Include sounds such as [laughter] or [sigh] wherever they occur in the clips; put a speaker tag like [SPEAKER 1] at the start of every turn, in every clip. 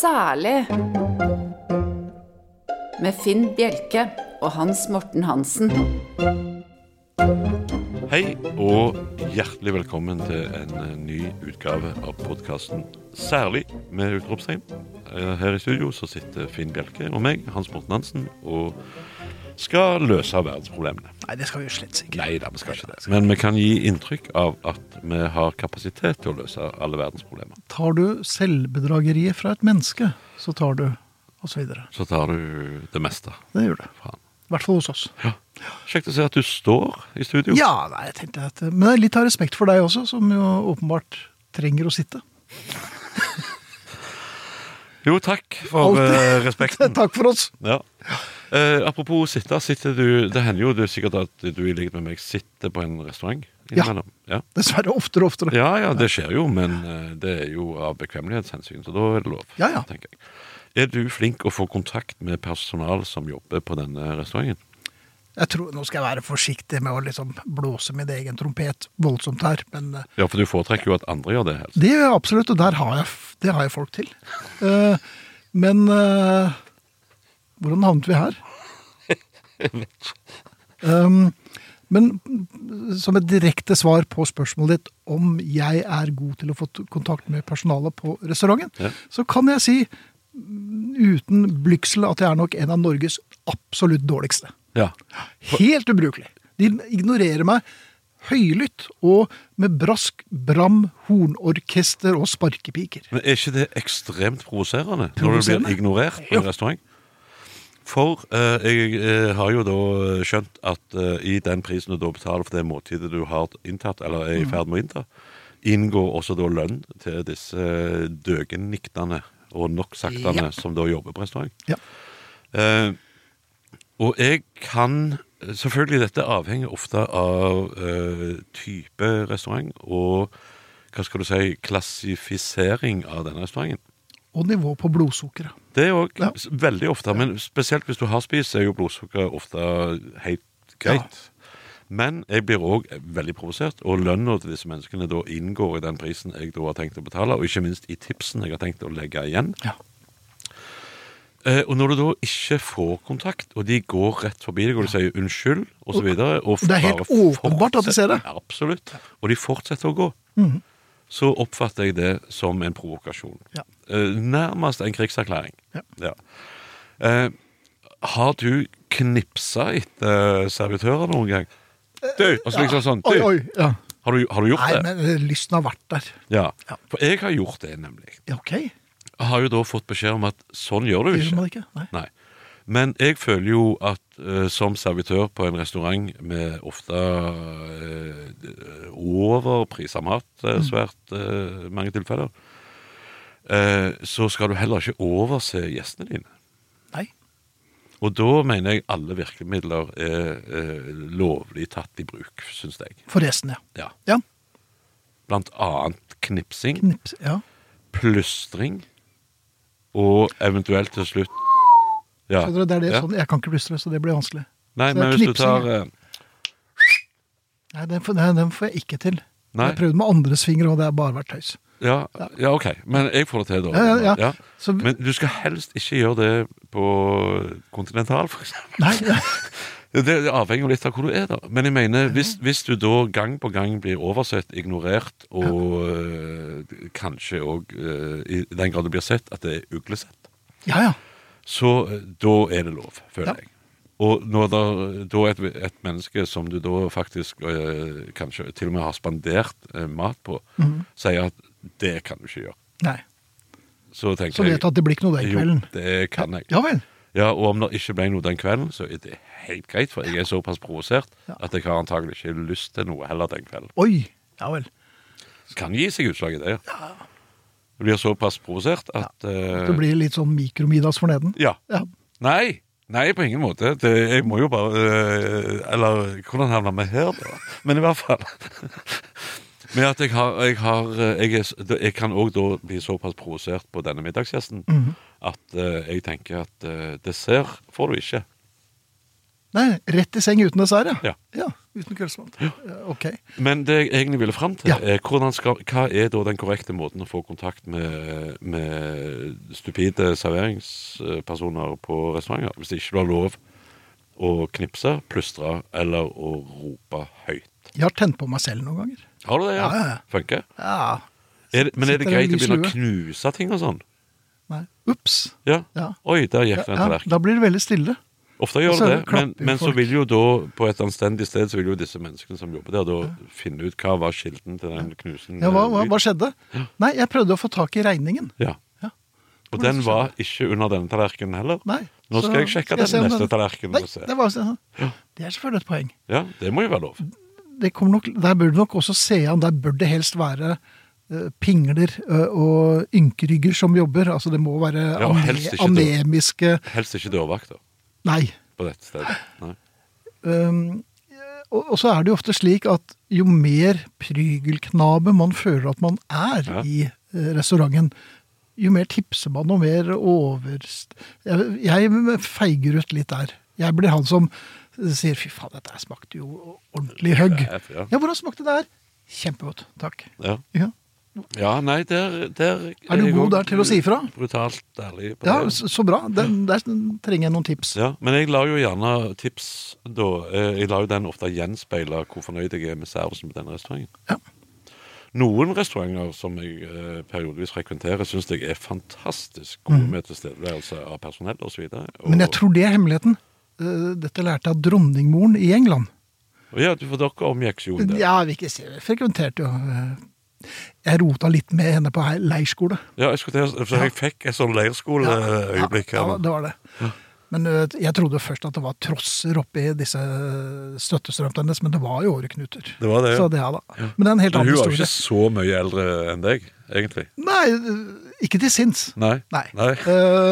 [SPEAKER 1] Særlig med Finn Bjelke og Hans Morten Hansen.
[SPEAKER 2] Hei og hjertelig velkommen til en eh, ny utgave av podkasten Særlig med utropstegn. Eh, Her i studio så sitter Finn Bjelke og meg, Hans Morten Hansen, og skal løse verdensproblemene.
[SPEAKER 3] Nei, det skal vi jo slett ikke.
[SPEAKER 2] Nei da, vi skal ikke det. Men vi kan gi inntrykk av at vi har kapasitet til å løse alle verdensproblemer.
[SPEAKER 3] Tar du selvbedrageriet fra et menneske, så tar du og så videre.
[SPEAKER 2] Så tar du det meste.
[SPEAKER 3] Det gjør du.
[SPEAKER 2] Faen.
[SPEAKER 3] I hvert fall hos oss.
[SPEAKER 2] Ja. Kjekt å se at du står i studio.
[SPEAKER 3] Ja, nei, jeg tenkte at Men jeg er litt av respekt for deg også, som jo åpenbart trenger å sitte.
[SPEAKER 2] Jo, takk for
[SPEAKER 3] Alltid. [laughs]
[SPEAKER 2] eh, [laughs] respekten.
[SPEAKER 3] Takk for oss.
[SPEAKER 2] Ja. Eh, apropos sitte, sitter du Det hender jo du, sikkert at du i likhet med meg sitter på en restaurant
[SPEAKER 3] Ja.
[SPEAKER 2] innimellom. Ja.
[SPEAKER 3] Dessverre oftere og oftere.
[SPEAKER 2] ja ja, det skjer jo, men eh, det er jo av bekvemmelighetshensyn, så da er det lov.
[SPEAKER 3] Ja, ja.
[SPEAKER 2] tenker jeg. Er du flink å få kontakt med personal som jobber på denne restauranten?
[SPEAKER 3] Jeg tror, Nå skal jeg være forsiktig med å liksom blåse min egen trompet voldsomt her, men eh,
[SPEAKER 2] Ja, for du foretrekker jo at andre gjør det helst.
[SPEAKER 3] det gjør jeg absolutt, og der har jeg, f- det har jeg folk til. Eh, Men eh, hvordan havnet vi her? Um, men som et direkte svar på spørsmålet ditt om jeg er god til å få t- kontakt med personalet på restauranten,
[SPEAKER 2] Ja.
[SPEAKER 3] så kan jeg si mm, uten blygsel at jeg er nok en av Norges absolutt dårligste.
[SPEAKER 2] Ja.
[SPEAKER 3] Helt ubrukelig. De ignorerer meg høylytt og med brask, bram, hornorkester og sparkepiker.
[SPEAKER 2] Men er ikke det ekstremt provoserende når du blir
[SPEAKER 3] Provoserende?
[SPEAKER 2] ignorert på
[SPEAKER 3] Jo.
[SPEAKER 2] en restaurant? For eh, jeg eh, har jo da skjønt at eh, i den prisen du da betaler for det måltidet du har inntatt, eller er i
[SPEAKER 3] Mm.
[SPEAKER 2] ferd med å innta, inngår også da lønn til disse eh, døgenniktene og noksaktene som da jobber på restaurant.
[SPEAKER 3] Ja.
[SPEAKER 2] Eh, og jeg kan Selvfølgelig, dette avhenger ofte av eh, type restaurant og hva skal du si, klassifisering av denne restauranten.
[SPEAKER 3] Og nivå på blodsukkeret.
[SPEAKER 2] Det er òg
[SPEAKER 3] Ja.
[SPEAKER 2] veldig ofte, men spesielt hvis du har spist, er jo blodsukkeret ofte helt greit. Men jeg blir òg veldig provosert, og lønna til disse menneskene da inngår i den prisen jeg da har tenkt å betale, og ikke minst i tipsen jeg har tenkt å legge igjen.
[SPEAKER 3] Ja.
[SPEAKER 2] Eh, og når du da ikke får kontakt, og de går rett forbi deg og de sier unnskyld osv.
[SPEAKER 3] Det er helt åpenbart at de ser det. Mhm.
[SPEAKER 2] Absolutt. Og de fortsetter å gå. Så oppfatter jeg det som en provokasjon.
[SPEAKER 3] Ja.
[SPEAKER 2] Eh, nærmest en krigserklæring.
[SPEAKER 3] Ja.
[SPEAKER 2] Eh, har du knipsa etter servitører noen gang? Du! Og så liksom sånn.
[SPEAKER 3] Eh, Oi,
[SPEAKER 2] Du!
[SPEAKER 3] oi. Ja.
[SPEAKER 2] Har du, har du gjort
[SPEAKER 3] Nei,
[SPEAKER 2] det?
[SPEAKER 3] men eh, lysten har vært der.
[SPEAKER 2] Ja.
[SPEAKER 3] Ja.
[SPEAKER 2] For jeg har gjort det, nemlig.
[SPEAKER 3] Ja, ok.
[SPEAKER 2] Jeg har jo da fått beskjed om at sånn gjør du
[SPEAKER 3] Det
[SPEAKER 2] ikke.
[SPEAKER 3] gjør man ikke. Nei.
[SPEAKER 2] Nei. Men jeg føler jo at eh, som servitør på en restaurant med ofte uh, overprisa mat, eh,
[SPEAKER 3] Mm.
[SPEAKER 2] svært eh, mange tilfeller, eh, så skal du heller ikke overse gjestene dine.
[SPEAKER 3] Nei.
[SPEAKER 2] Og da mener jeg alle virkemidler er eh, lovlig tatt i bruk, syns jeg.
[SPEAKER 3] Forresten, ja.
[SPEAKER 2] Ja.
[SPEAKER 3] Ja.
[SPEAKER 2] Blant annet knipsing,
[SPEAKER 3] Knips. Ja.
[SPEAKER 2] plystring og eventuelt til slutt ja.
[SPEAKER 3] Skjønner du, det er det
[SPEAKER 2] Ja.
[SPEAKER 3] sånn. Jeg kan ikke plystre, så det blir vanskelig.
[SPEAKER 2] Nei,
[SPEAKER 3] Så det er
[SPEAKER 2] men hvis du
[SPEAKER 3] knipsing,
[SPEAKER 2] tar
[SPEAKER 3] ja.
[SPEAKER 2] eh,
[SPEAKER 3] Nei, den får, nei, den får jeg ikke til.
[SPEAKER 2] Nei.
[SPEAKER 3] Jeg prøvde med andres fingre, og det har bare vært tøys.
[SPEAKER 2] Ja, ja, ok. Men jeg får det til, da.
[SPEAKER 3] Ja, ja, ja. Så-
[SPEAKER 2] Men du skal helst ikke gjøre det på Continental, for eksempel.
[SPEAKER 3] Nei, [laughs] ja.
[SPEAKER 2] Det avhenger jo litt av hvor du er, da. Men jeg mener, hvis, hvis du da gang på gang blir oversett, ignorert, og eh, kanskje òg i den grad du blir sett, at det er uglesett,
[SPEAKER 3] ja, ja.
[SPEAKER 2] så eh, da er det lov, føler
[SPEAKER 3] Ja.
[SPEAKER 2] jeg. Og når det da er et, et menneske som du da faktisk eh, kanskje til og med har spandert eh, mat på,
[SPEAKER 3] Mhm.
[SPEAKER 2] sier at det kan du ikke gjøre.
[SPEAKER 3] Nei.
[SPEAKER 2] Så tenker
[SPEAKER 3] Så vet du at det blir ikke noe den kvelden.
[SPEAKER 2] Jo, det kan jeg.
[SPEAKER 3] Ja vel.
[SPEAKER 2] Ja, Og om det ikke ble noe den kvelden, så er det helt greit, for jeg er såpass provosert
[SPEAKER 3] Ja.
[SPEAKER 2] at jeg har antagelig ikke lyst til noe heller den kvelden.
[SPEAKER 3] Oi. Ja vel.
[SPEAKER 2] Kan gi seg utslag i det, ja. Du blir såpass provosert at eh,
[SPEAKER 3] Det blir litt sånn mikromiddags forneden.
[SPEAKER 2] Ja.
[SPEAKER 3] Ja.
[SPEAKER 2] Nei! Nei, på ingen måte. Det, jeg må jo bare eh, Eller hvordan havna vi her, da? Men i hvert fall [laughs] Med at jeg har Jeg, har, eh, jeg, er, s- da- jeg kan òg da bli såpass provosert på denne middagsgjesten at eh, jeg tenker at eh, dessert får du ikke.
[SPEAKER 3] Nei, rett i seng uten dessert,
[SPEAKER 2] Ja.
[SPEAKER 3] ja. uten kveldsmat. Eh, Ok.
[SPEAKER 2] Men det jeg egentlig ville fram til,
[SPEAKER 3] Ja.
[SPEAKER 2] er hvordan skal, hva er da den korrekte måten å få kontakt med, med stupide serveringspersoner på restauranter? Hvis ikke du har lov å knipse, plystre eller å rope høyt.
[SPEAKER 3] Jeg har tent på meg selv noen ganger.
[SPEAKER 2] Har du det? Ja.
[SPEAKER 3] Ja, ja, ja.
[SPEAKER 2] Funker?
[SPEAKER 3] Ja.
[SPEAKER 2] Er, det- men er det
[SPEAKER 3] Sitter en
[SPEAKER 2] greit å begynne å
[SPEAKER 3] lyslue.
[SPEAKER 2] knuse ting og sånn?
[SPEAKER 3] Nei. Ups.
[SPEAKER 2] Ja.
[SPEAKER 3] Ja.
[SPEAKER 2] Oi, der
[SPEAKER 3] Ja,
[SPEAKER 2] gikk det en
[SPEAKER 3] ja,
[SPEAKER 2] tallerken.
[SPEAKER 3] da blir det veldig stille.
[SPEAKER 2] Ofte
[SPEAKER 3] Og
[SPEAKER 2] gjør
[SPEAKER 3] så
[SPEAKER 2] det det,
[SPEAKER 3] klapper
[SPEAKER 2] men,
[SPEAKER 3] jo
[SPEAKER 2] men så
[SPEAKER 3] folk.
[SPEAKER 2] vil jo da, på et anstendig sted, så vil jo disse menneskene som jobber der, da finne ut hva var kilden til den knusende
[SPEAKER 3] Ja, hva, hva,
[SPEAKER 2] lyd.
[SPEAKER 3] hva skjedde? Nei, jeg prøvde å få tak i regningen.
[SPEAKER 2] Ja.
[SPEAKER 3] Ja.
[SPEAKER 2] Og
[SPEAKER 3] Hvordan
[SPEAKER 2] den
[SPEAKER 3] skal
[SPEAKER 2] var ikke under denne tallerkenen heller.
[SPEAKER 3] Nei.
[SPEAKER 2] Nå
[SPEAKER 3] så
[SPEAKER 2] skal jeg sjekke
[SPEAKER 3] se
[SPEAKER 2] den
[SPEAKER 3] om
[SPEAKER 2] neste tallerkenen
[SPEAKER 3] Nei,
[SPEAKER 2] og se.
[SPEAKER 3] det, var, sånn. det er selvfølgelig et poeng.
[SPEAKER 2] Ja, det må jo være lov.
[SPEAKER 3] Det kommer nok, der bør du nok også se an. Der bør det helst være eh, pingler eh, og ynkerygger som jobber. Altså det må være
[SPEAKER 2] Ja, og
[SPEAKER 3] ane-
[SPEAKER 2] helst ikke død.
[SPEAKER 3] anemiske
[SPEAKER 2] Helst ikke dørvakter
[SPEAKER 3] Nei.
[SPEAKER 2] på dette stedet. Nei.
[SPEAKER 3] Um, og, og så er det jo ofte slik at jo mer prygelknabe man føler at man er
[SPEAKER 2] Ja.
[SPEAKER 3] i eh, restauranten, jo mer tipser man og mer overst... Jeg, jeg feiger ut litt der. Jeg blir han som sier 'fy faen, dette her smakte jo ordentlig høgg'.
[SPEAKER 2] Det er- ja.
[SPEAKER 3] Ja, hvordan smakte det her? Kjempegodt. Takk.
[SPEAKER 2] Ja.
[SPEAKER 3] Ja.
[SPEAKER 2] ja, nei, der, der
[SPEAKER 3] Er du
[SPEAKER 2] jeg
[SPEAKER 3] god
[SPEAKER 2] også
[SPEAKER 3] der til å si ifra?
[SPEAKER 2] Brutalt ærlig. På
[SPEAKER 3] Ja,
[SPEAKER 2] det.
[SPEAKER 3] så, så bra. Den, der trenger jeg noen tips.
[SPEAKER 2] Ja, men jeg lar jo gjerne tips da. Eh, Jeg lar jo den ofte gjenspeile hvor fornøyd jeg er med servicen på denne restauranten.
[SPEAKER 3] Ja.
[SPEAKER 2] Noen restauranter som jeg eh, periodevis frekventerer, syns jeg er fantastisk gode med tilstedeværelse av personell osv.
[SPEAKER 3] Mm. Men jeg tror det er hemmeligheten. Eh, Dette lærte jeg av dronningmoren i England.
[SPEAKER 2] Ja, du- for dere omgikk jo det.
[SPEAKER 3] Ja, vi ikke si det. Frekventerte jo eh, Jeg rota litt med henne på hei- leirskole.
[SPEAKER 2] Ja, jeg, skulle til, å- så jeg fikk et sånn leirskoleøyeblikk
[SPEAKER 3] Ja,
[SPEAKER 2] her. nå.
[SPEAKER 3] det var det. Men eh, jeg trodde først at det var trosser oppi disse støttestrømpene hennes, men det var jo åreknuter.
[SPEAKER 2] Det var det, ja.
[SPEAKER 3] Så det, ja da. Men det er en helt
[SPEAKER 2] Men hun
[SPEAKER 3] annen
[SPEAKER 2] var jo ikke
[SPEAKER 3] historie.
[SPEAKER 2] så mye eldre enn deg, egentlig.
[SPEAKER 3] Nei, eh, ikke til sinns.
[SPEAKER 2] Nei.
[SPEAKER 3] Nei.
[SPEAKER 2] Det,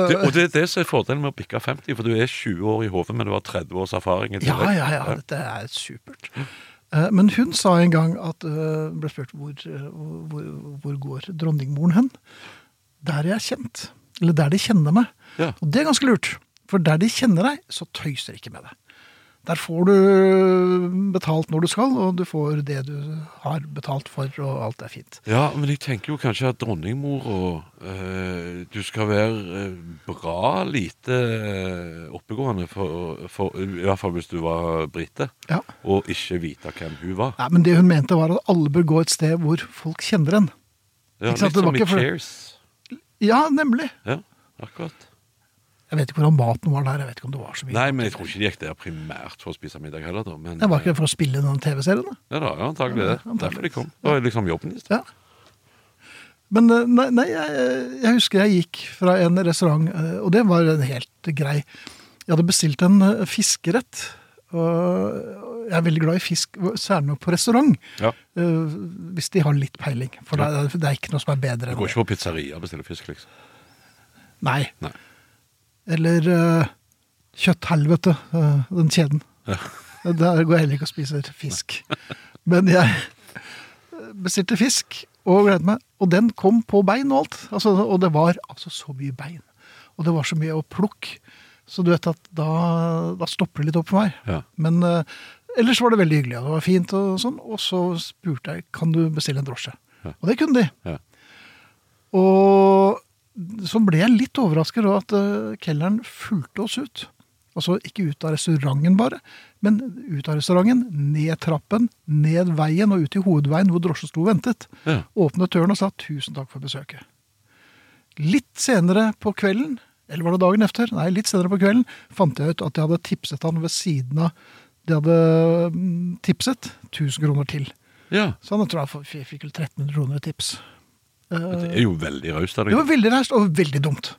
[SPEAKER 3] Eh,
[SPEAKER 2] og det er det som er fordelen med å bikke 50, for du er 20 år i hodet, men du har 30 års erfaring. i
[SPEAKER 3] Ja,
[SPEAKER 2] tillegg.
[SPEAKER 3] ja, ja, dette er supert. Eh, Men hun sa en gang at eh, ble spurt hvor, eh, hvor, hvor går dronningmoren hen? Der er jeg kjent. Eller der de kjenner meg.
[SPEAKER 2] Ja.
[SPEAKER 3] Og det er ganske lurt. For der de kjenner deg, så tøyser de ikke med deg. Der får du betalt når du skal, og du får det du har betalt for, og alt er fint.
[SPEAKER 2] Ja, men jeg tenker jo kanskje at dronningmora eh, Du skal være eh, bra lite eh, oppegående, for, for, i hvert fall hvis du var brite,
[SPEAKER 3] Ja.
[SPEAKER 2] og ikke vite hvem hun var.
[SPEAKER 3] Nei, men det hun mente var at alle bør gå et sted hvor folk kjenner en.
[SPEAKER 2] Ja,
[SPEAKER 3] Ikke
[SPEAKER 2] litt
[SPEAKER 3] sant, det var
[SPEAKER 2] som i
[SPEAKER 3] ikke for-
[SPEAKER 2] Cheers.
[SPEAKER 3] Ja, nemlig.
[SPEAKER 2] Ja, akkurat.
[SPEAKER 3] Jeg vet ikke hvordan maten var der. jeg vet ikke om det var så mye.
[SPEAKER 2] Nei, men jeg tror ikke de gikk der primært for å spise middag heller, da. Men, eh,
[SPEAKER 3] Det var ikke det for å spille noen TV-serier, da.
[SPEAKER 2] Ja, da, ja, antagelig det.
[SPEAKER 3] Ja, antagelig.
[SPEAKER 2] Derfor de kom. Det var liksom jobben deres.
[SPEAKER 3] Ja. Men eh, nei, nei jeg, jeg husker jeg gikk fra en restaurant, eh, og det var en helt grei Jeg hadde bestilt en eh, fiskerett. Og jeg er veldig glad i fisk, særlig på restaurant.
[SPEAKER 2] Ja.
[SPEAKER 3] eh, Hvis de har litt peiling. For det er, det er ikke noe som er
[SPEAKER 2] Du
[SPEAKER 3] bedre enn
[SPEAKER 2] går
[SPEAKER 3] det.
[SPEAKER 2] ikke på pizzeria og bestiller fisk, liksom.
[SPEAKER 3] Nei.
[SPEAKER 2] Nei.
[SPEAKER 3] Eller eh, kjøtthelvete, eh, den kjeden. Eh,
[SPEAKER 2] Ja.
[SPEAKER 3] Der går jeg heller ikke og spiser fisk. Men jeg bestilte fisk og gledet meg. Og den kom på bein og alt. Altså, og det var altså så mye bein. Og det var så mye å plukke. Så du vet at da, da stopper det litt opp for meg.
[SPEAKER 2] Ja.
[SPEAKER 3] Men eh, ellers var det veldig hyggelig, og det var fint og sånn. Og så spurte jeg kan du bestille en drosje.
[SPEAKER 2] Ja.
[SPEAKER 3] Og det kunne de.
[SPEAKER 2] Ja.
[SPEAKER 3] Og så ble jeg litt overrasket over at eh, kelleren fulgte oss ut. Altså ikke ut av restauranten bare, men ut av restauranten, ned trappen, ned veien og ut i hovedveien hvor drosjen sto og ventet.
[SPEAKER 2] Ja.
[SPEAKER 3] Åpnet døren og sa 'tusen takk for besøket'. Litt senere på kvelden, eller var det dagen efter? Nei, litt senere på kvelden fant jeg ut at jeg hadde tipset han ved siden av De hadde mm, tipset 1000 kroner til.
[SPEAKER 2] ja.
[SPEAKER 3] Så han jeg tror jeg f- f- fikk vel 1300 kroner i tips. Eh,
[SPEAKER 2] Men Det er jo veldig raust av
[SPEAKER 3] Det var
[SPEAKER 2] deg.
[SPEAKER 3] veldig raust og veldig dumt.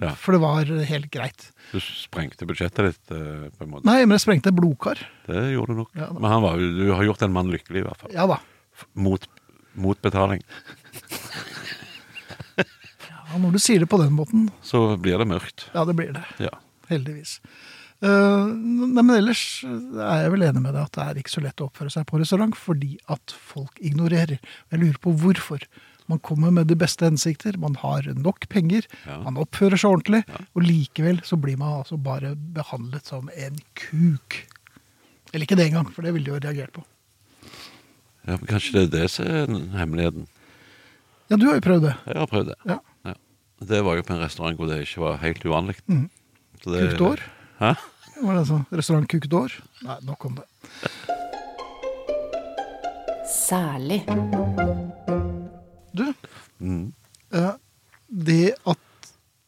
[SPEAKER 2] Ja.
[SPEAKER 3] For det var helt greit.
[SPEAKER 2] Du sprengte budsjettet ditt, eh, på en måte.
[SPEAKER 3] Nei, men det sprengte et blodkar.
[SPEAKER 2] Det gjorde du nok.
[SPEAKER 3] Ja, da.
[SPEAKER 2] Men han var, jo- du har gjort en mann lykkelig, i hvert fall.
[SPEAKER 3] Ja da.
[SPEAKER 2] Mot, mot betaling.
[SPEAKER 3] Ja, når du sier det på den måten,
[SPEAKER 2] Så blir det mørkt.
[SPEAKER 3] ja, det blir det.
[SPEAKER 2] Ja.
[SPEAKER 3] Heldigvis. Eh, nei, men ellers er jeg vel enig med deg at det er ikke så lett å oppføre seg på restaurant fordi at folk ignorerer. Jeg lurer på hvorfor. Man kommer med de beste hensikter, man har nok penger,
[SPEAKER 2] Ja.
[SPEAKER 3] man oppfører seg ordentlig, og likevel så blir man altså bare behandlet som en kuk. Eller ikke det engang, for det ville de jo reagert på.
[SPEAKER 2] Ja, men Kanskje det er det som er hemmeligheten.
[SPEAKER 3] Ja, du har jo prøvd det.
[SPEAKER 2] Jeg har prøvd det.
[SPEAKER 3] Ja.
[SPEAKER 2] Ja. Det var jo på en restaurant hvor det ikke var helt uvanlig.
[SPEAKER 3] Mhm.
[SPEAKER 2] Så det-
[SPEAKER 3] Kukt år.
[SPEAKER 2] Hæ?
[SPEAKER 3] Hva er det sånn? Restaurant Kukt år? Nei, nok om det.
[SPEAKER 1] Særlig.
[SPEAKER 3] Du,
[SPEAKER 2] Mhm.
[SPEAKER 3] eh, det at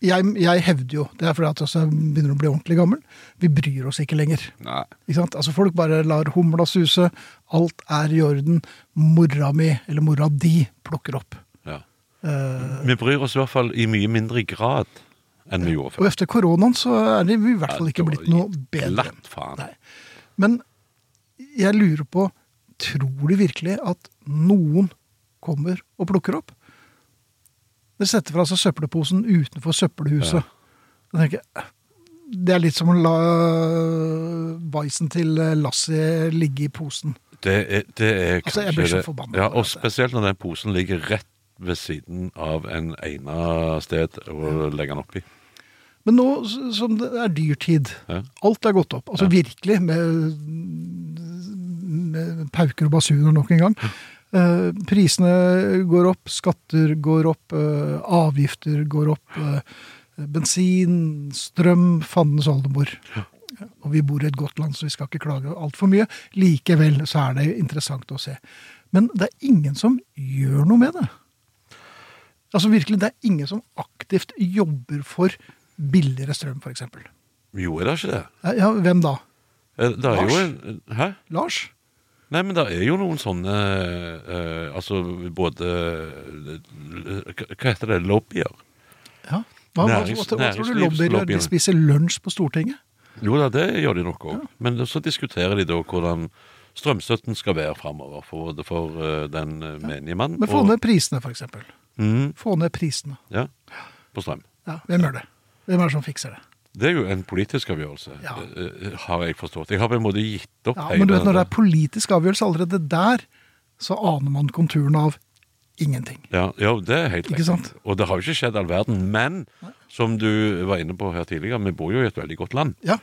[SPEAKER 3] jeg, jeg hevder jo, det er fordi at altså, jeg også begynner å bli ordentlig gammel, vi bryr oss ikke lenger.
[SPEAKER 2] Nei.
[SPEAKER 3] Ikke sant? Altså Folk bare lar humla suse, alt er i orden. Mora mi, eller mora di, plukker opp.
[SPEAKER 2] Ja.
[SPEAKER 3] Eh,
[SPEAKER 2] Vi bryr oss i hvert fall i mye mindre grad enn vi gjorde
[SPEAKER 3] og
[SPEAKER 2] før.
[SPEAKER 3] etter koronaen så er det i hvert fall ikke blitt noe bedre.
[SPEAKER 2] Glatt faen.
[SPEAKER 3] Nei. Men jeg lurer på Tror du virkelig at noen kommer og plukker opp? Dere setter fra seg søppelposen utenfor søppelhuset.
[SPEAKER 2] Ja.
[SPEAKER 3] Da tenker jeg, Det er litt som å la bæsjen til Lassie ligge i posen.
[SPEAKER 2] Det er, det er
[SPEAKER 3] Altså,
[SPEAKER 2] kanskje
[SPEAKER 3] jeg blir så
[SPEAKER 2] det-
[SPEAKER 3] forbanna
[SPEAKER 2] Ja,
[SPEAKER 3] på
[SPEAKER 2] og
[SPEAKER 3] dette.
[SPEAKER 2] spesielt når den posen ligger rett ved siden av en egnet sted å legge den oppi.
[SPEAKER 3] Men nå s- som det er dyrtid,
[SPEAKER 2] Ja.
[SPEAKER 3] alt er gått opp. Altså virkelig, med, med pauker og basuner nok en gang. Eh, prisene går opp, skatter går opp, eh, avgifter går opp. eh, bensin, strøm, fandens oldemor. Og vi bor i et godt land, så vi skal ikke klage altfor mye. Likevel så er det interessant å se. Men det er ingen som gjør noe med det. Altså virkelig, det er ingen som aktivt jobber for billigere strøm, f.eks.
[SPEAKER 2] Jo, er det ikke det?
[SPEAKER 3] Ja, hvem da?
[SPEAKER 2] Eh, Det er jo
[SPEAKER 3] Lars?
[SPEAKER 2] en Hæ?
[SPEAKER 3] Lars?
[SPEAKER 2] Nei, men det er jo noen sånne eh, Altså både eh, Hva heter det? Lobbyer?
[SPEAKER 3] Ja. Hva, hva, hva,
[SPEAKER 2] Nærings-
[SPEAKER 3] hva, tror du
[SPEAKER 2] næringslivslobbyen.
[SPEAKER 3] lobbyer de spiser lunsj på Stortinget?
[SPEAKER 2] Jo da, det gjør de nok òg. Men så diskuterer de da hvordan strømstøtten skal være framover for, for eh, den eh, menige mann.
[SPEAKER 3] Men få
[SPEAKER 2] og-
[SPEAKER 3] ned prisene, f.eks.
[SPEAKER 2] Mhm,
[SPEAKER 3] Få ned prisene.
[SPEAKER 2] ja, på strøm.
[SPEAKER 3] Ja, hvem gjør det? Hvem er det som fikser det?
[SPEAKER 2] Det er jo en politisk avgjørelse,
[SPEAKER 3] Ja.
[SPEAKER 2] eh, eh, har jeg forstått. Jeg har på en måte gitt opp
[SPEAKER 3] Ja,
[SPEAKER 2] hele
[SPEAKER 3] men du vet, når det
[SPEAKER 2] den-
[SPEAKER 3] er politisk avgjørelse allerede der, så aner man konturene av ingenting.
[SPEAKER 2] Ja, ja, det er helt
[SPEAKER 3] Ikke sant?
[SPEAKER 2] Og det har jo ikke skjedd all verden. Men som du var inne på her tidligere, vi bor jo i et veldig godt land.
[SPEAKER 3] Ja,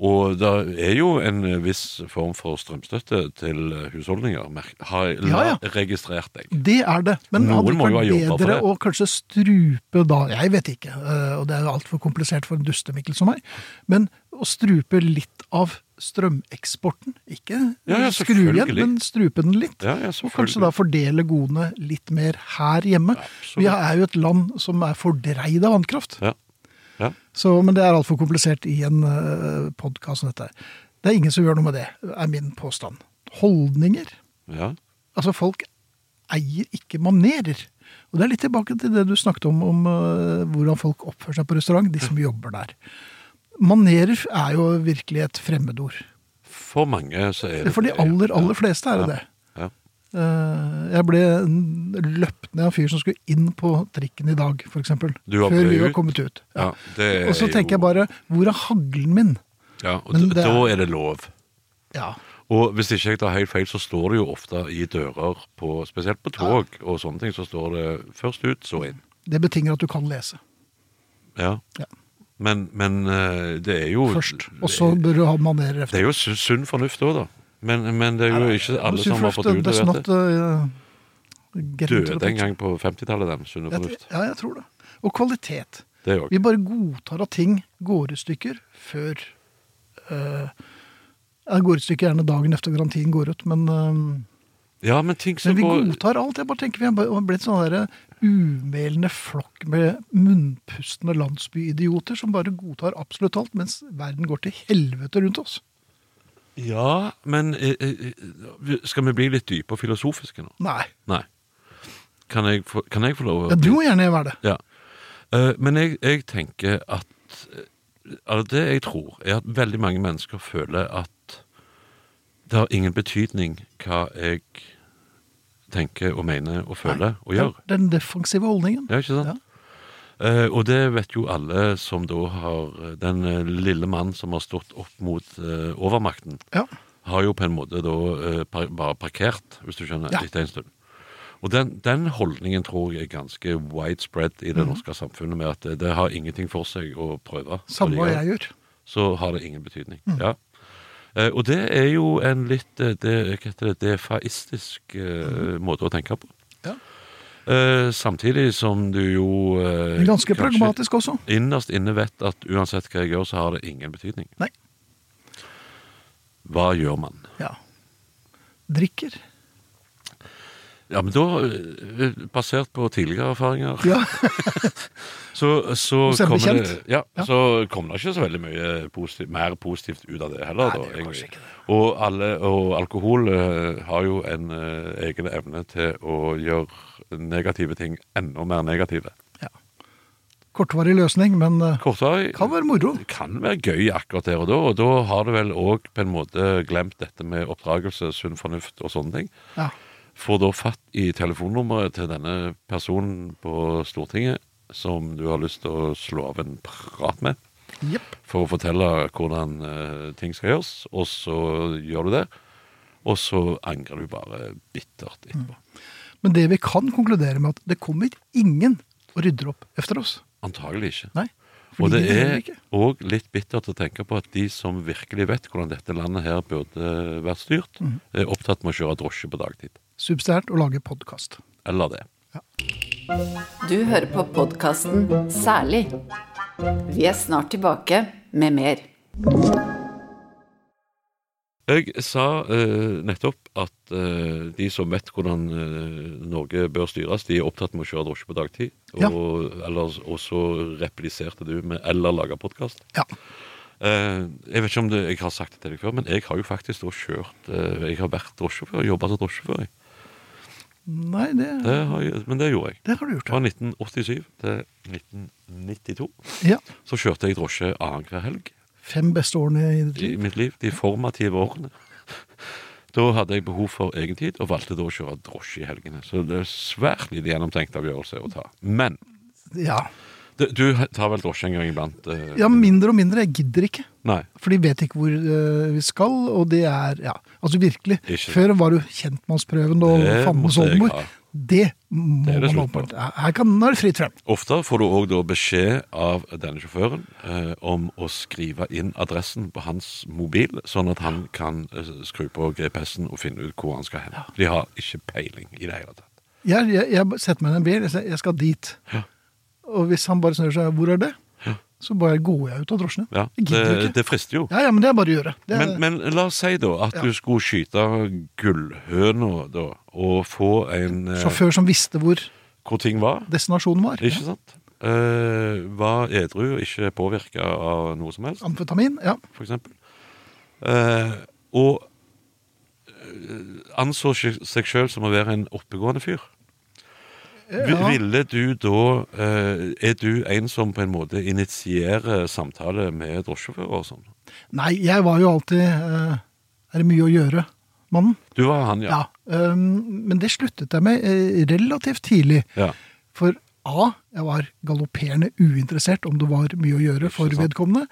[SPEAKER 2] Og det er jo en eh, viss form for strømstøtte til eh, husholdninger, merk- har jeg la-
[SPEAKER 3] Ja, ja.
[SPEAKER 2] registrert deg.
[SPEAKER 3] det er det. Men
[SPEAKER 2] Noen
[SPEAKER 3] hadde det
[SPEAKER 2] må jo ha
[SPEAKER 3] vært
[SPEAKER 2] jobba for
[SPEAKER 3] bedre
[SPEAKER 2] det.
[SPEAKER 3] å kanskje strupe da Jeg vet ikke, eh, og det er jo altfor komplisert for en dustemikkel som meg, men å strupe litt av strømeksporten. Ikke
[SPEAKER 2] Ja, ja,
[SPEAKER 3] skru igjen,
[SPEAKER 2] selvfølgelig.
[SPEAKER 3] men strupe den litt.
[SPEAKER 2] Ja, ja,
[SPEAKER 3] Og kanskje da
[SPEAKER 2] selvfølgelig.
[SPEAKER 3] fordele godene litt mer her hjemme.
[SPEAKER 2] Absolutt.
[SPEAKER 3] Vi er jo et land som er fordreid av vannkraft.
[SPEAKER 2] Ja. Ja.
[SPEAKER 3] Så, men det er altfor komplisert i en uh, podkast som dette. her. Det er ingen som gjør noe med det, er min påstand. Holdninger.
[SPEAKER 2] ja.
[SPEAKER 3] Altså, folk eier ikke manerer. Og det er litt tilbake til det du snakket om, om eh, hvordan folk oppfører seg på restaurant, de som jobber der. Manerer er jo virkelig et fremmedord.
[SPEAKER 2] For mange så er det
[SPEAKER 3] For de
[SPEAKER 2] det, ja.
[SPEAKER 3] aller, aller fleste er det det.
[SPEAKER 2] Ja.
[SPEAKER 3] Eh, Jeg ble løpt ned av en fyr som skulle inn på trikken i dag, f.eks.
[SPEAKER 2] Du var
[SPEAKER 3] Før
[SPEAKER 2] på vei
[SPEAKER 3] vi var
[SPEAKER 2] ut?
[SPEAKER 3] kommet ut.
[SPEAKER 2] Ja, det er
[SPEAKER 3] Og så tenker jeg bare Hvor er haglen min?
[SPEAKER 2] jo- ja, og
[SPEAKER 3] Men
[SPEAKER 2] d-
[SPEAKER 3] det er-
[SPEAKER 2] Da er det lov.
[SPEAKER 3] Ja.
[SPEAKER 2] Og hvis ikke jeg tar helt feil, så står det jo ofte i dører, på, spesielt på tog og sånne ting, så står det først ut, så inn.
[SPEAKER 3] Det betinger at du kan lese.
[SPEAKER 2] Ja.
[SPEAKER 3] Ja.
[SPEAKER 2] Men, men eh, det er jo
[SPEAKER 3] Først. Og så bør du ha manerer
[SPEAKER 2] Det
[SPEAKER 3] efter.
[SPEAKER 2] er jo su- sunn fornuft òg, da. Men, men det er jo ikke alle som har fått ut det.
[SPEAKER 3] That's
[SPEAKER 2] vet
[SPEAKER 3] not
[SPEAKER 2] du.
[SPEAKER 3] uh, get into
[SPEAKER 2] Døde
[SPEAKER 3] the
[SPEAKER 2] en
[SPEAKER 3] picture.
[SPEAKER 2] gang på 50-tallet, den sunne
[SPEAKER 3] Jeg-
[SPEAKER 2] fornuft.
[SPEAKER 3] Ja, jeg tror det. Og kvalitet.
[SPEAKER 2] Det òg.
[SPEAKER 3] Vi bare godtar at ting går i stykker før uh, ja, Går i stykker gjerne dagen etter garantien går ut, men eh,
[SPEAKER 2] Ja, men ting som
[SPEAKER 3] Men vi
[SPEAKER 2] går
[SPEAKER 3] godtar alt. Jeg bare tenker Vi har bare- blitt sånn der umælende flokk med munnpustende landsbyidioter som bare godtar absolutt alt, mens verden går til helvete rundt oss.
[SPEAKER 2] Ja, men eh, eh, Skal vi bli litt dype og filosofiske nå?
[SPEAKER 3] Nei.
[SPEAKER 2] Nei. Kan jeg få, kan jeg få lov å
[SPEAKER 3] Ja, du må gjerne være det.
[SPEAKER 2] Ja. Eh, men jeg, jeg tenker at eh, altså Det jeg tror, er at veldig mange mennesker føler at det har ingen betydning hva jeg tenker og mener og føler og gjør.
[SPEAKER 3] Den defensive holdningen.
[SPEAKER 2] Ja, ikke sant? Eh, og det vet jo alle som da har Den eh, lille mann som har stått opp mot eh, overmakten,
[SPEAKER 3] Ja.
[SPEAKER 2] har jo på en måte da eh, par bare parkert, hvis du skjønner,
[SPEAKER 3] Ja.
[SPEAKER 2] etter en stund. Og den, den holdningen tror jeg er ganske widespread i
[SPEAKER 3] Mm.
[SPEAKER 2] det norske samfunnet, med at det, det har ingenting for seg å prøve.
[SPEAKER 3] Samme Mm. hva
[SPEAKER 2] Fordi-
[SPEAKER 3] jeg gjør.
[SPEAKER 2] Så har det ingen betydning. Ja. Eh, og det er jo en litt eh, det, hva heter det, defaistisk
[SPEAKER 3] Mm.
[SPEAKER 2] eh, måte å tenke på.
[SPEAKER 3] Ja.
[SPEAKER 2] Eh, samtidig som du jo eh,
[SPEAKER 3] Men ganske
[SPEAKER 2] kanskje
[SPEAKER 3] pragmatisk også.
[SPEAKER 2] Innerst inne vet at uansett hva jeg gjør, så har det ingen betydning.
[SPEAKER 3] Nei.
[SPEAKER 2] Hva gjør man?
[SPEAKER 3] Ja. Drikker.
[SPEAKER 2] Ja, men da, eh, basert på tidligere erfaringer,
[SPEAKER 3] Ja. [laughs]
[SPEAKER 2] så, så,
[SPEAKER 3] Hos en
[SPEAKER 2] kommer det,
[SPEAKER 3] bekjent?
[SPEAKER 2] ja,
[SPEAKER 3] Ja.
[SPEAKER 2] så kommer det ikke så veldig mye positivt, mer positivt ut av det heller.
[SPEAKER 3] Nei,
[SPEAKER 2] da,
[SPEAKER 3] det gjør
[SPEAKER 2] egentlig.
[SPEAKER 3] kanskje ikke
[SPEAKER 2] og, alle, og alkohol eh, har jo en eh, egen evne til å gjøre negative ting enda mer negative.
[SPEAKER 3] ja. Kortvarig løsning, men eh,
[SPEAKER 2] Kortvarig
[SPEAKER 3] kan være moro.
[SPEAKER 2] kan være gøy akkurat der og da, og da har du vel òg på en måte glemt dette med oppdragelse, sunn fornuft og sånne ting.
[SPEAKER 3] Ja.
[SPEAKER 2] Får da fatt i telefonnummeret til denne personen på Stortinget som du har lyst til å slå av en prat med.
[SPEAKER 3] Jepp.
[SPEAKER 2] for å fortelle hvordan eh, ting skal gjøres, og så gjør du det. Og så angrer du bare bittert etterpå.
[SPEAKER 3] Mm. Men det vi kan konkludere med, at det kommer ingen og rydder opp efter oss.
[SPEAKER 2] Antagelig ikke.
[SPEAKER 3] Nei.
[SPEAKER 2] og
[SPEAKER 3] fordi
[SPEAKER 2] det
[SPEAKER 3] vi
[SPEAKER 2] er
[SPEAKER 3] heller ikke.
[SPEAKER 2] òg litt bittert å tenke på at de som virkelig vet hvordan dette landet her burde vært styrt,
[SPEAKER 3] Mm.
[SPEAKER 2] er opptatt med å kjøre drosje på dagtid.
[SPEAKER 3] Subsidiært å lage podkast.
[SPEAKER 2] Eller det.
[SPEAKER 1] Du hører på podkasten Særlig. Vi er snart tilbake med mer.
[SPEAKER 2] Jeg sa eh, nettopp at eh, de som vet hvordan eh, Norge bør styres, de er opptatt med å kjøre drosje på dagtid. Og,
[SPEAKER 3] Ja.
[SPEAKER 2] eller, og så repliserte du med 'eller lage podkast'.
[SPEAKER 3] Ja.
[SPEAKER 2] Eh, jeg vet ikke om det, jeg har sagt det til deg før, men jeg har jo faktisk da kjørt eh, Jeg har vært drosjesjåfør, jobba som drosjesjåfør. jeg.
[SPEAKER 3] Nei, det,
[SPEAKER 2] Det har jeg- Men det gjorde jeg.
[SPEAKER 3] det har du gjort.
[SPEAKER 2] Fra 1987 til 1992
[SPEAKER 3] Ja.
[SPEAKER 2] så kjørte jeg drosje annenhver helg
[SPEAKER 3] Fem beste årene i ditt
[SPEAKER 2] i
[SPEAKER 3] liv.
[SPEAKER 2] mitt liv. De formative årene. Da hadde jeg behov for egentid, og valgte da å kjøre drosje i helgene. Så det er svært lite gjennomtenkt avgjørelse å ta. Men
[SPEAKER 3] Ja.
[SPEAKER 2] det, du tar vel drosje en gang iblant? eh,
[SPEAKER 3] ja, mindre og mindre. Jeg gidder ikke.
[SPEAKER 2] Nei.
[SPEAKER 3] For de vet ikke hvor eh, vi skal, og det er Ja, altså virkelig.
[SPEAKER 2] Ikke.
[SPEAKER 3] Før var du kjentmannsprøven og
[SPEAKER 2] Det
[SPEAKER 3] fandens
[SPEAKER 2] måtte jeg
[SPEAKER 3] oldemor.
[SPEAKER 2] ha.
[SPEAKER 3] Det må
[SPEAKER 2] Det er det
[SPEAKER 3] man
[SPEAKER 2] slutt på.
[SPEAKER 3] åpenbart. Her kan nå er det fritt frem.
[SPEAKER 2] Ofte får du òg da beskjed av denne sjåføren eh, om å skrive inn adressen på hans mobil, sånn at han kan eh, skru på GPS-en og finne ut hvor han skal hen. De har ikke peiling i det hele tatt.
[SPEAKER 3] Jeg, jeg, jeg setter meg i en bil, jeg sier jeg skal dit.
[SPEAKER 2] Ja.
[SPEAKER 3] Og hvis han bare snur seg, hvor er det? Så bare går jeg ut av drosjen.
[SPEAKER 2] Ja,
[SPEAKER 3] jeg
[SPEAKER 2] det,
[SPEAKER 3] gidder ikke.
[SPEAKER 2] det frister jo.
[SPEAKER 3] Ja, ja, men det er bare å gjøre. Det er,
[SPEAKER 2] Men, men la oss si da at
[SPEAKER 3] Ja.
[SPEAKER 2] du skulle skyte gullhøna da, og få en eh,
[SPEAKER 3] Sjåfør som visste hvor
[SPEAKER 2] Hvor ting var.
[SPEAKER 3] destinasjonen var.
[SPEAKER 2] Ikke sant? Eh, var edru og ikke påvirka av noe som helst.
[SPEAKER 3] Amfetamin, ja.
[SPEAKER 2] for eksempel. Eh, og eh, anså seg- seg sjøl som å være en oppegående fyr. Vi-
[SPEAKER 3] Ja.
[SPEAKER 2] Ville du da eh, Er du en som på en måte initierer samtale med drosjesjåfører og sånn?
[SPEAKER 3] Nei, jeg var jo alltid eh, Er det mye å gjøre, mannen?
[SPEAKER 2] Du var han, ja.
[SPEAKER 3] Ja. øhm, men det sluttet jeg med eh, relativt tidlig.
[SPEAKER 2] Ja.
[SPEAKER 3] For A, jeg var galopperende uinteressert om det var mye å gjøre for
[SPEAKER 2] Ikke sant.
[SPEAKER 3] vedkommende.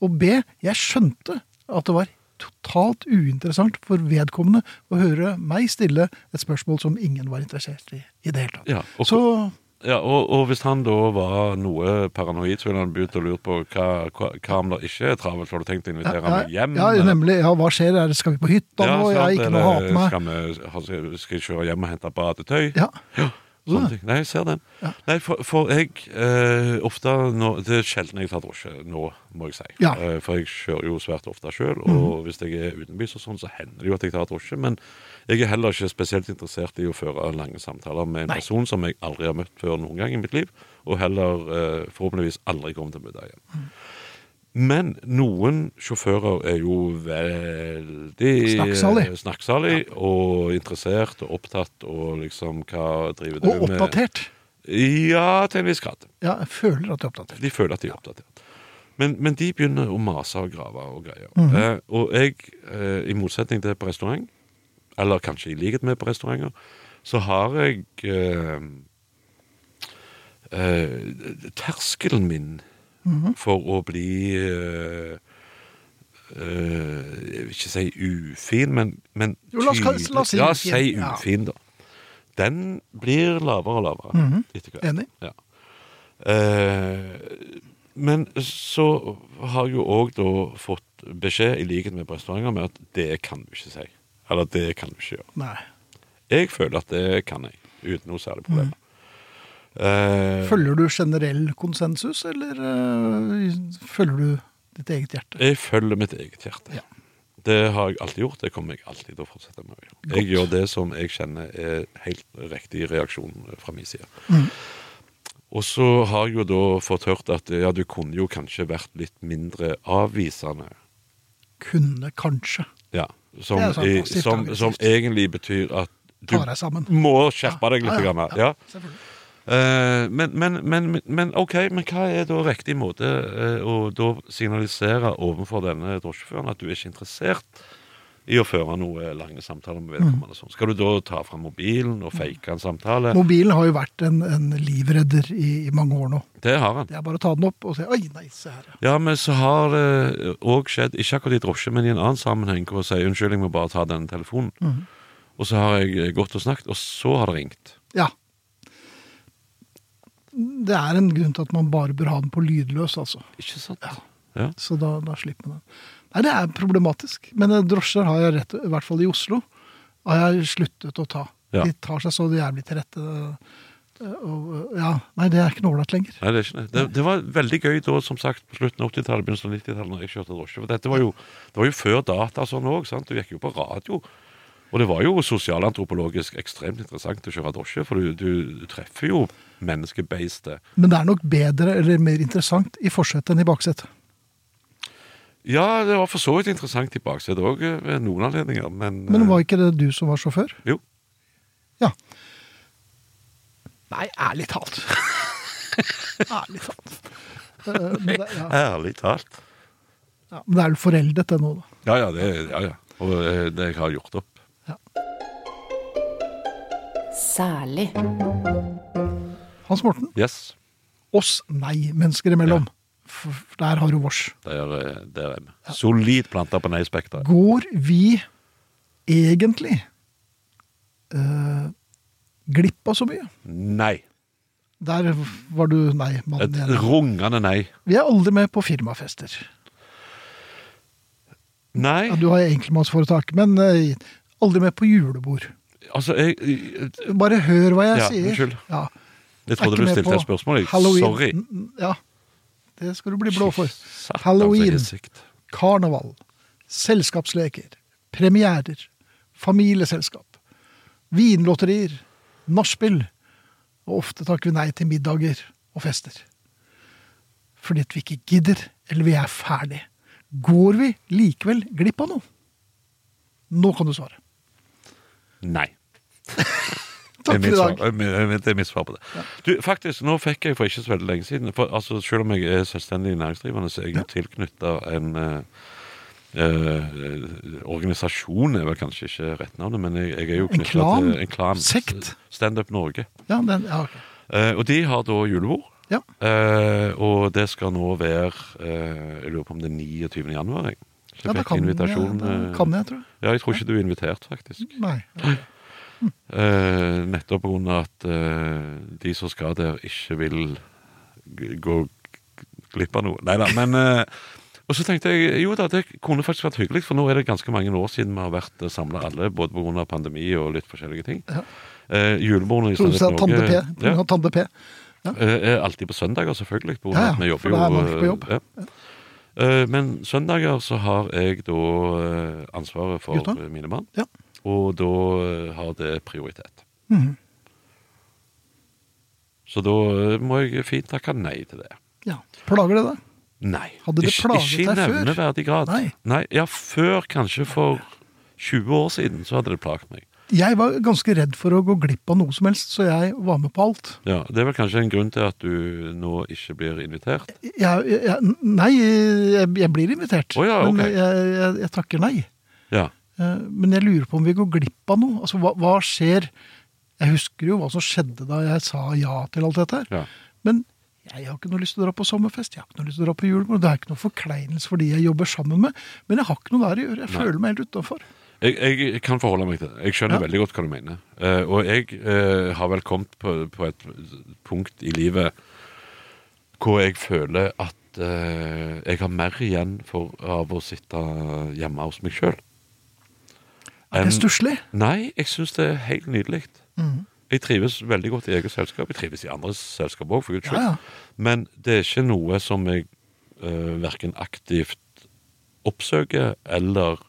[SPEAKER 3] Og B, jeg skjønte at det var totalt uinteressant for vedkommende å høre meg stille et spørsmål som ingen var interessert i i det hele tatt.
[SPEAKER 2] Ja, og-
[SPEAKER 3] Så
[SPEAKER 2] ja og, og hvis han da var noe paranoid, så ville han begynt å lure på hva, hva, hva om det ikke er travelt. Har du tenkt å invitere
[SPEAKER 3] ja,
[SPEAKER 2] meg hjem?
[SPEAKER 3] ja,
[SPEAKER 2] eller?
[SPEAKER 3] nemlig. Ja, hva skjer? Er det- Skal vi på hytta nå? Jeg har
[SPEAKER 2] sant,
[SPEAKER 3] ikke noe å ha
[SPEAKER 2] eller
[SPEAKER 3] på meg.
[SPEAKER 2] Skal, vi, ha- skal- skal jeg kjøre hjem og hente badetøy?
[SPEAKER 3] Ja.
[SPEAKER 2] Sånne ting. Nei, jeg ser den. Nei, for, for jeg eh, ofte nå, Det er sjelden jeg tar drosje nå, må jeg si.
[SPEAKER 3] Ja. Mhm.
[SPEAKER 2] Eh, for jeg kjører jo svært ofte sjøl, og hvis jeg er utenbys og sånn, så hender det jo at jeg tar drosje. Men jeg er heller ikke spesielt interessert i å føre lange samtaler med en
[SPEAKER 3] Nei.
[SPEAKER 2] person som jeg aldri har møtt før noen gang i mitt liv, og heller eh, forhåpentligvis aldri kommer til å møte igjen. Men noen sjåfører er jo veldig
[SPEAKER 3] Snakksalig.
[SPEAKER 2] eh, snakksalig og interessert og opptatt og liksom hva driver du
[SPEAKER 3] Og
[SPEAKER 2] med?
[SPEAKER 3] oppdatert.
[SPEAKER 2] Ja, til en viss grad.
[SPEAKER 3] Ja, jeg føler at jeg er oppdatert.
[SPEAKER 2] De føler at de er oppdatert. Men, men de begynner å mase og grave og greier.
[SPEAKER 3] Mhm.
[SPEAKER 2] eh, og jeg, eh, i motsetning til på restaurant, eller kanskje i likhet med på restauranter, så har jeg eh, eh, Terskelen min
[SPEAKER 3] Mhm.
[SPEAKER 2] for å bli eh, eh, Jeg vil ikke si ufin, men, men
[SPEAKER 3] Jo, la oss ka- la oss si
[SPEAKER 2] ja,
[SPEAKER 3] ufin.
[SPEAKER 2] si
[SPEAKER 3] Ja.
[SPEAKER 2] ufin, da. Den blir lavere og lavere etter hvert.
[SPEAKER 3] Enig.
[SPEAKER 2] Ja. Eh, Men så har jeg jo òg da fått beskjed, i likhet med på restauranter, med at det kan du ikke si. Eller det kan du ikke gjøre.
[SPEAKER 3] Nei.
[SPEAKER 2] Jeg føler at det kan jeg, uten noe særlig problem. Eh,
[SPEAKER 3] Følger du generell konsensus, eller øh, følger du ditt eget hjerte?
[SPEAKER 2] jeg følger mitt eget hjerte.
[SPEAKER 3] Ja.
[SPEAKER 2] Det har jeg alltid gjort. Det kommer jeg alltid til å fortsette med. å gjøre. Jeg gjør det som jeg kjenner er helt riktig reaksjon fra min side.
[SPEAKER 3] Mm.
[SPEAKER 2] Og så har jeg jo da fått hørt at ja, du kunne jo kanskje vært litt mindre avvisende.
[SPEAKER 3] Kunne kanskje
[SPEAKER 2] Ja, som,
[SPEAKER 3] Det er sånn
[SPEAKER 2] i-
[SPEAKER 3] positivt
[SPEAKER 2] som,
[SPEAKER 3] aggressivt.
[SPEAKER 2] som egentlig betyr at du
[SPEAKER 3] ta deg sammen.
[SPEAKER 2] må skjerpe deg litt.
[SPEAKER 3] Ja,
[SPEAKER 2] grann,
[SPEAKER 3] ja,
[SPEAKER 2] Ja.
[SPEAKER 3] selvfølgelig.
[SPEAKER 2] Eh, men, men, men, men ok, men hva er da riktig måte eh, å da signalisere overfor denne drosjeføren at du er ikke interessert i å føre noe lange samtaler med vedkommende? Sånn. Skal du da ta fram mobilen og fake en samtale?
[SPEAKER 3] Mobilen har jo vært en, en livredder i, i mange år nå.
[SPEAKER 2] Det har han.
[SPEAKER 3] Det er bare å ta den opp og si 'oi, nei, se her'. ja.
[SPEAKER 2] Ja, men så har det òg skjedd, ikke akkurat i drosje, men i en annen sammenheng, hvor jeg sier unnskyld, jeg må bare ta denne telefonen. Og så har jeg gått og snakket, og så har det ringt.
[SPEAKER 3] Ja. Det er en grunn til at man bare bør ha den på lydløs, altså.
[SPEAKER 2] Ikke sant?
[SPEAKER 3] Ja.
[SPEAKER 2] Ja.
[SPEAKER 3] Så da, da slipper man den. Nei, det er problematisk. Men eh, drosjer har jeg rett, i hvert fall i Oslo, har jeg sluttet å ta.
[SPEAKER 2] Ja.
[SPEAKER 3] De tar seg så jævlig til rette. eh, Og, eh, ja, nei, det er ikke noe ålreit lenger.
[SPEAKER 2] Nei, det er ikke det. Det, det var veldig gøy da, som sagt, på slutten av 80-tallet, begynnelsen av 90-tallet, når jeg kjørte drosje. For dette var jo, det var jo før data og sånn òg, sant. Du gikk jo på radio. Og det var jo sosialantropologisk ekstremt interessant å kjøre drosje, for du, du treffer jo menneskebeistet.
[SPEAKER 3] Men det er nok bedre eller mer interessant i forsetet enn i baksetet.
[SPEAKER 2] Ja, det var for så vidt interessant i baksetet òg, ved noen anledninger, men,
[SPEAKER 3] Men var ikke det du som var sjåfør?
[SPEAKER 2] eh, Jo.
[SPEAKER 3] Ja. Nei, ærlig talt. [laughs] ærlig talt. Eh, Men det, ja.
[SPEAKER 2] [laughs] Ærlig talt.
[SPEAKER 3] Ja, men det er jo foreldet, det nå, da.
[SPEAKER 2] Ja ja, det, ja, ja. Og eh, det jeg har gjort opp.
[SPEAKER 1] Særlig.
[SPEAKER 3] Hans Morten,
[SPEAKER 2] Yes.
[SPEAKER 3] oss nei-mennesker imellom. F- Der har du vårs.
[SPEAKER 2] Der, eh, der er vi. Solid planta på nei-spekteret.
[SPEAKER 3] Går vi egentlig eh, glipp av så mye?
[SPEAKER 2] Nei.
[SPEAKER 3] Der var du
[SPEAKER 2] Et
[SPEAKER 3] nei-mannen igjen.
[SPEAKER 2] rungende nei.
[SPEAKER 3] Vi er aldri med på firmafester.
[SPEAKER 2] Nei.
[SPEAKER 3] Ja, du har enkeltmannsforetak, men eh, aldri med på julebord.
[SPEAKER 2] Altså, jeg, jeg,
[SPEAKER 3] Bare hør hva jeg
[SPEAKER 2] Ja,
[SPEAKER 3] sier.
[SPEAKER 2] unnskyld.
[SPEAKER 3] Ja,
[SPEAKER 2] jeg trodde du stilte et spørsmål. Jeg. Sorry.
[SPEAKER 3] N- n- Ja, Mm, det skal du bli blå for.
[SPEAKER 2] Satan, altså, så
[SPEAKER 3] Halloween,
[SPEAKER 2] hissigt.
[SPEAKER 3] karneval, selskapsleker, premierer, familieselskap, vinlotterier, nachspiel, og ofte takker vi nei til middager og fester. Fordi at vi ikke gidder, eller vi er ferdig. Går vi likevel glipp av noe? Nå kan du svare.
[SPEAKER 2] Nei. Det er
[SPEAKER 3] Takk for i
[SPEAKER 2] mitt
[SPEAKER 3] dag.
[SPEAKER 2] svar- eh, men Det er mitt svar på det. Du, faktisk, nå fikk jeg for ikke så veldig lenge siden for, altså, Selv om jeg er selvstendig næringsdrivende, så er jeg jo tilknytta en eh, eh, organisasjon er vel kanskje ikke rett navnet, men jeg, jeg er jo
[SPEAKER 3] En
[SPEAKER 2] knyttet
[SPEAKER 3] klan?
[SPEAKER 2] til en klan.
[SPEAKER 3] Sekt?
[SPEAKER 2] Standup Norge.
[SPEAKER 3] Ja, den, ja, ok.
[SPEAKER 2] Eh, og de har da julebord.
[SPEAKER 3] ja.
[SPEAKER 2] Eh, og det skal nå være eh, Jeg lurer på om det er 29. januar. Jeg. Så
[SPEAKER 3] ja
[SPEAKER 2] jeg
[SPEAKER 3] da
[SPEAKER 2] fikk
[SPEAKER 3] kan,
[SPEAKER 2] invitasjon,
[SPEAKER 3] jeg, da
[SPEAKER 2] eh,
[SPEAKER 3] kan jeg, tror jeg.
[SPEAKER 2] Ja, jeg tror ikke du er invitert, faktisk.
[SPEAKER 3] Nei.
[SPEAKER 2] Eh, nettopp pga. at eh, de som skal der, ikke vil g- gå g- glipp av noe. Nei da, men eh, Og så tenkte jeg jo da, det kunne faktisk vært hyggelig, for nå er det ganske mange år siden vi har vært samla alle, både pga. pandemi og litt forskjellige ting.
[SPEAKER 3] Ja.
[SPEAKER 2] Eh, Julebordene i
[SPEAKER 3] Produsent
[SPEAKER 2] Standup
[SPEAKER 3] Tande P.
[SPEAKER 2] Norge ja,
[SPEAKER 3] Produsent Tande P.
[SPEAKER 2] eh, er alltid på søndager, selvfølgelig. På grunn av
[SPEAKER 3] Ja, ja,
[SPEAKER 2] at vi jobber
[SPEAKER 3] for da er
[SPEAKER 2] jo
[SPEAKER 3] mange på
[SPEAKER 2] eh,
[SPEAKER 3] jobb.
[SPEAKER 2] ja. Eh, Men søndager så har jeg da eh, ansvaret for
[SPEAKER 3] Gutta?
[SPEAKER 2] eh, mine barn.
[SPEAKER 3] Ja.
[SPEAKER 2] Og da eh, har det prioritet.
[SPEAKER 3] Mhm.
[SPEAKER 2] Så da eh, må jeg fint takke nei til det.
[SPEAKER 3] ja. Plager det deg?
[SPEAKER 2] Nei.
[SPEAKER 3] Hadde det
[SPEAKER 2] ikke,
[SPEAKER 3] plaget
[SPEAKER 2] ikke i
[SPEAKER 3] deg før?
[SPEAKER 2] nevneverdig grad.
[SPEAKER 3] Nei.
[SPEAKER 2] Ja, før kanskje for 20 år siden så hadde det plaget meg.
[SPEAKER 3] Jeg var ganske redd for å gå glipp av noe som helst, så jeg var med på alt.
[SPEAKER 2] Ja, Det er vel kanskje en grunn til at du nå ikke blir invitert?
[SPEAKER 3] Jeg, jeg, jeg- nei, jeg, jeg blir invitert,
[SPEAKER 2] Å ja, ok.
[SPEAKER 3] men jeg, jeg, jeg takker nei.
[SPEAKER 2] Ja.
[SPEAKER 3] Eh, Men jeg lurer på om vi går glipp av noe. Altså, hva, hva skjer? Jeg husker jo hva som skjedde da jeg sa ja til alt dette her.
[SPEAKER 2] ja.
[SPEAKER 3] Men jeg har ikke noe lyst til å dra på sommerfest, jeg har ikke noe lyst til å dra på julebord. Det er ikke noe forkleinelse for de jeg jobber sammen med, men jeg har ikke noe der å gjøre. Jeg
[SPEAKER 2] Nei.
[SPEAKER 3] føler meg helt utafor.
[SPEAKER 2] Jeg, jeg kan forholde meg til det. Jeg skjønner
[SPEAKER 3] Ja.
[SPEAKER 2] veldig godt hva du mener. Eh, og jeg eh, har vel kommet på, på et punkt i livet hvor jeg føler at at eh, jeg har mer igjen for, av å sitte hjemme hos meg sjøl.
[SPEAKER 3] Er det stusslig?
[SPEAKER 2] Nei, jeg syns det er helt nydelig.
[SPEAKER 3] Mhm.
[SPEAKER 2] Jeg trives veldig godt i eget selskap. Jeg trives i andres selskap òg, for guds skyld.
[SPEAKER 3] Ja, ja.
[SPEAKER 2] Men det er ikke noe som jeg uh, verken aktivt oppsøker eller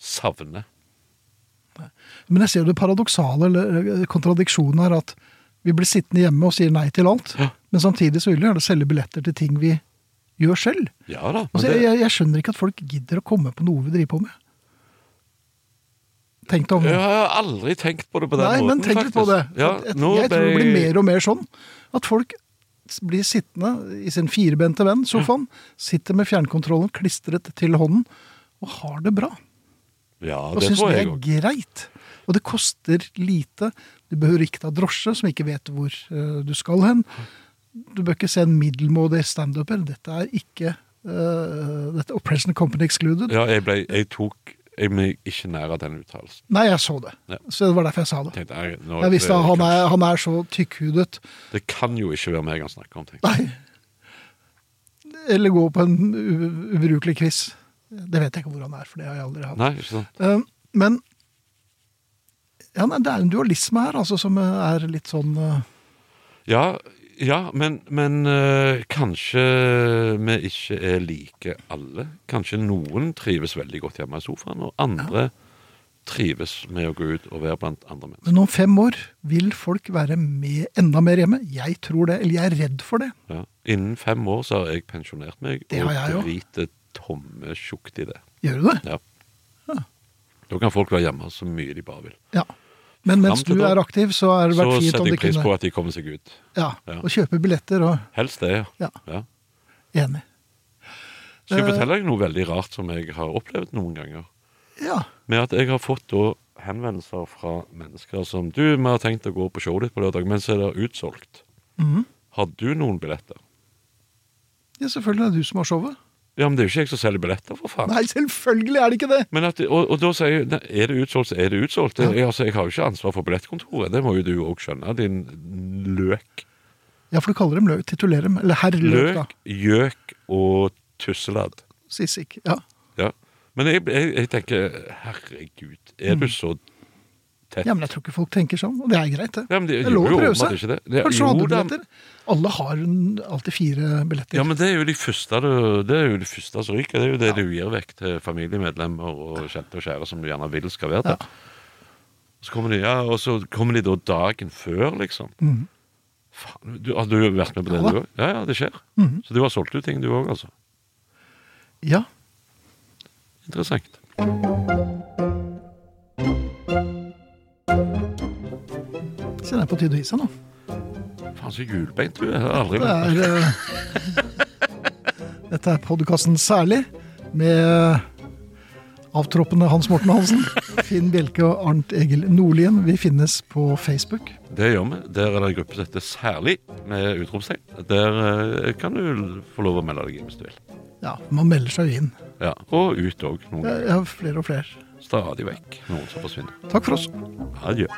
[SPEAKER 2] savner.
[SPEAKER 3] Men jeg ser jo det paradoksale, eller eh, kontradiksjonen her, at vi blir sittende hjemme og sier nei til alt,
[SPEAKER 2] Ja.
[SPEAKER 3] men samtidig så vil vi gjerne selge billetter til ting vi gjør selv.
[SPEAKER 2] Ja da. Men
[SPEAKER 3] Altså,
[SPEAKER 2] det,
[SPEAKER 3] jeg, jeg skjønner ikke at folk gidder å komme på noe vi driver på med. Tenk deg om.
[SPEAKER 2] jeg har aldri tenkt på det på den
[SPEAKER 3] nei,
[SPEAKER 2] måten,
[SPEAKER 3] men tenk litt på det.
[SPEAKER 2] faktisk. Ja,
[SPEAKER 3] jeg,
[SPEAKER 2] nå
[SPEAKER 3] jeg tror det
[SPEAKER 2] ble-
[SPEAKER 3] blir mer og mer sånn at folk s- blir sittende i sin firbente venn, sofaen, sitter med fjernkontrollen klistret til hånden og har det bra.
[SPEAKER 2] Ja,
[SPEAKER 3] Og
[SPEAKER 2] det
[SPEAKER 3] syns
[SPEAKER 2] tror
[SPEAKER 3] det
[SPEAKER 2] jeg
[SPEAKER 3] er
[SPEAKER 2] òg.
[SPEAKER 3] greit. Og det koster lite. Du behøver ikke ta drosje, som ikke vet hvor eh, du skal hen. Du bør ikke se en middelmådig standuper. Dette er ikke eh, dette er Oppression Company Excluded.
[SPEAKER 2] Ja, jeg, ble, jeg tok jeg meg ikke nær av den uttalelsen.
[SPEAKER 3] Nei, jeg så det.
[SPEAKER 2] Ja.
[SPEAKER 3] Så det var derfor jeg sa det.
[SPEAKER 2] Tenkte, jeg, nå,
[SPEAKER 3] Jeg visste at han
[SPEAKER 2] det,
[SPEAKER 3] er, han er så tykkhudet.
[SPEAKER 2] det kan jo ikke være meg han snakker om. tenkte jeg.
[SPEAKER 3] Nei. Eller gå på en u- ubrukelig quiz. Det vet jeg ikke hvor han er, for det har jeg aldri hatt.
[SPEAKER 2] Nei, ikke sant?
[SPEAKER 3] Eh, Men ja, nei, det er en dualisme her, altså, som eh, er litt sånn eh,
[SPEAKER 2] Ja, ja men, men øh, kanskje vi ikke er like alle. Kanskje noen trives veldig godt hjemme i sofaen, og andre trives med å gå ut og være blant andre mennesker.
[SPEAKER 3] Men om fem år vil folk være med, enda mer hjemme. Jeg tror det, eller jeg er redd for det.
[SPEAKER 2] Ja. Innen fem år så har jeg pensjonert meg,
[SPEAKER 3] Det har jeg
[SPEAKER 2] og
[SPEAKER 3] jo.
[SPEAKER 2] driter tomme tjukt i det.
[SPEAKER 3] Gjør du det?
[SPEAKER 2] Ja. Da kan folk være hjemme så mye de bare vil.
[SPEAKER 3] Ja. Men mens
[SPEAKER 2] Fram til
[SPEAKER 3] du
[SPEAKER 2] da.
[SPEAKER 3] er aktiv, så er det
[SPEAKER 2] Så
[SPEAKER 3] vært fint
[SPEAKER 2] setter
[SPEAKER 3] om de
[SPEAKER 2] jeg pris på
[SPEAKER 3] kunne
[SPEAKER 2] at de kommer seg ut.
[SPEAKER 3] ja,
[SPEAKER 2] Ja.
[SPEAKER 3] Og kjøpe billetter og
[SPEAKER 2] Helst det,
[SPEAKER 3] Ja.
[SPEAKER 2] ja.
[SPEAKER 3] Enig.
[SPEAKER 2] Skal jeg
[SPEAKER 3] Eh.
[SPEAKER 2] fortelle deg noe veldig rart som jeg har opplevd noen ganger?
[SPEAKER 3] Ja.
[SPEAKER 2] med at jeg har fått da henvendelser fra mennesker som Du, vi har tenkt å gå på showet ditt på lørdag, men så er det utsolgt.
[SPEAKER 3] Mhm.
[SPEAKER 2] Har du noen billetter?
[SPEAKER 3] ja, selvfølgelig er det du som har showet.
[SPEAKER 2] Ja, men det er jo ikke jeg som selger billetter, for faen.
[SPEAKER 3] Nei, selvfølgelig er det ikke det!
[SPEAKER 2] Men at, og, og da sier jeg nei, er det utsolgt, så er det utsolgt. Jeg, altså, jeg har jo ikke ansvar for billettkontoret. Det må jo du òg skjønne, din løk.
[SPEAKER 3] Ja, for du kaller dem løk. Titulerer dem. Eller herr løk, da.
[SPEAKER 2] Løk, gjøk og tusseladd.
[SPEAKER 3] Sissik. Ja.
[SPEAKER 2] Ja. Men jeg, jeg, jeg tenker, herregud, er du så tett?
[SPEAKER 3] Mm. ja, men jeg tror ikke folk tenker sånn. Og det er greit, det.
[SPEAKER 2] Ja, men det-
[SPEAKER 3] det er lov
[SPEAKER 2] jo,
[SPEAKER 3] å prøve
[SPEAKER 2] åpenbart
[SPEAKER 3] seg.
[SPEAKER 2] ikke det. Det-
[SPEAKER 3] Kanskje
[SPEAKER 2] jo
[SPEAKER 3] hadde du
[SPEAKER 2] da.
[SPEAKER 3] billetter. Alle har en- alltid fire billetter.
[SPEAKER 2] Ja, men det er jo de første, du- det er jo de første som ryker. Det er jo det du gir vekk til familiemedlemmer og kjente og kjære som du gjerne vil skal være til. Så kommer de, ja, og så kommer de da dagen før, liksom.
[SPEAKER 3] Mhm.
[SPEAKER 2] Faen, du, har du vært med på det,
[SPEAKER 3] Ja da.
[SPEAKER 2] du òg? Ja, ja, det skjer.
[SPEAKER 3] Mhm.
[SPEAKER 2] Så du har solgt ut ting, du òg, altså.
[SPEAKER 3] ja.
[SPEAKER 2] Interessant.
[SPEAKER 3] Så den er på tide å gi seg nå.
[SPEAKER 2] Faen, så hjulbeint du er. Jeg har aldri
[SPEAKER 3] Det
[SPEAKER 2] vært
[SPEAKER 3] er
[SPEAKER 2] [laughs]
[SPEAKER 3] eh, Dette er podkasten Særlig, med avtroppende Hans Morten Hansen, Finn Bjelke og Arnt Egil Nordlien. Vi finnes på Facebook.
[SPEAKER 2] Det gjør vi. Der er det en gruppe som heter Særlig, med utropstegn. Der eh, kan du få lov å melde deg inn hvis du vil.
[SPEAKER 3] Ja, man melder seg jo inn.
[SPEAKER 2] Ja, Og ut òg, noen
[SPEAKER 3] Jeg
[SPEAKER 2] ganger.
[SPEAKER 3] jeg har flere og flere.
[SPEAKER 2] Stadig vekk. Noen som forsvinner.
[SPEAKER 3] Takk for oss.
[SPEAKER 2] Adjø.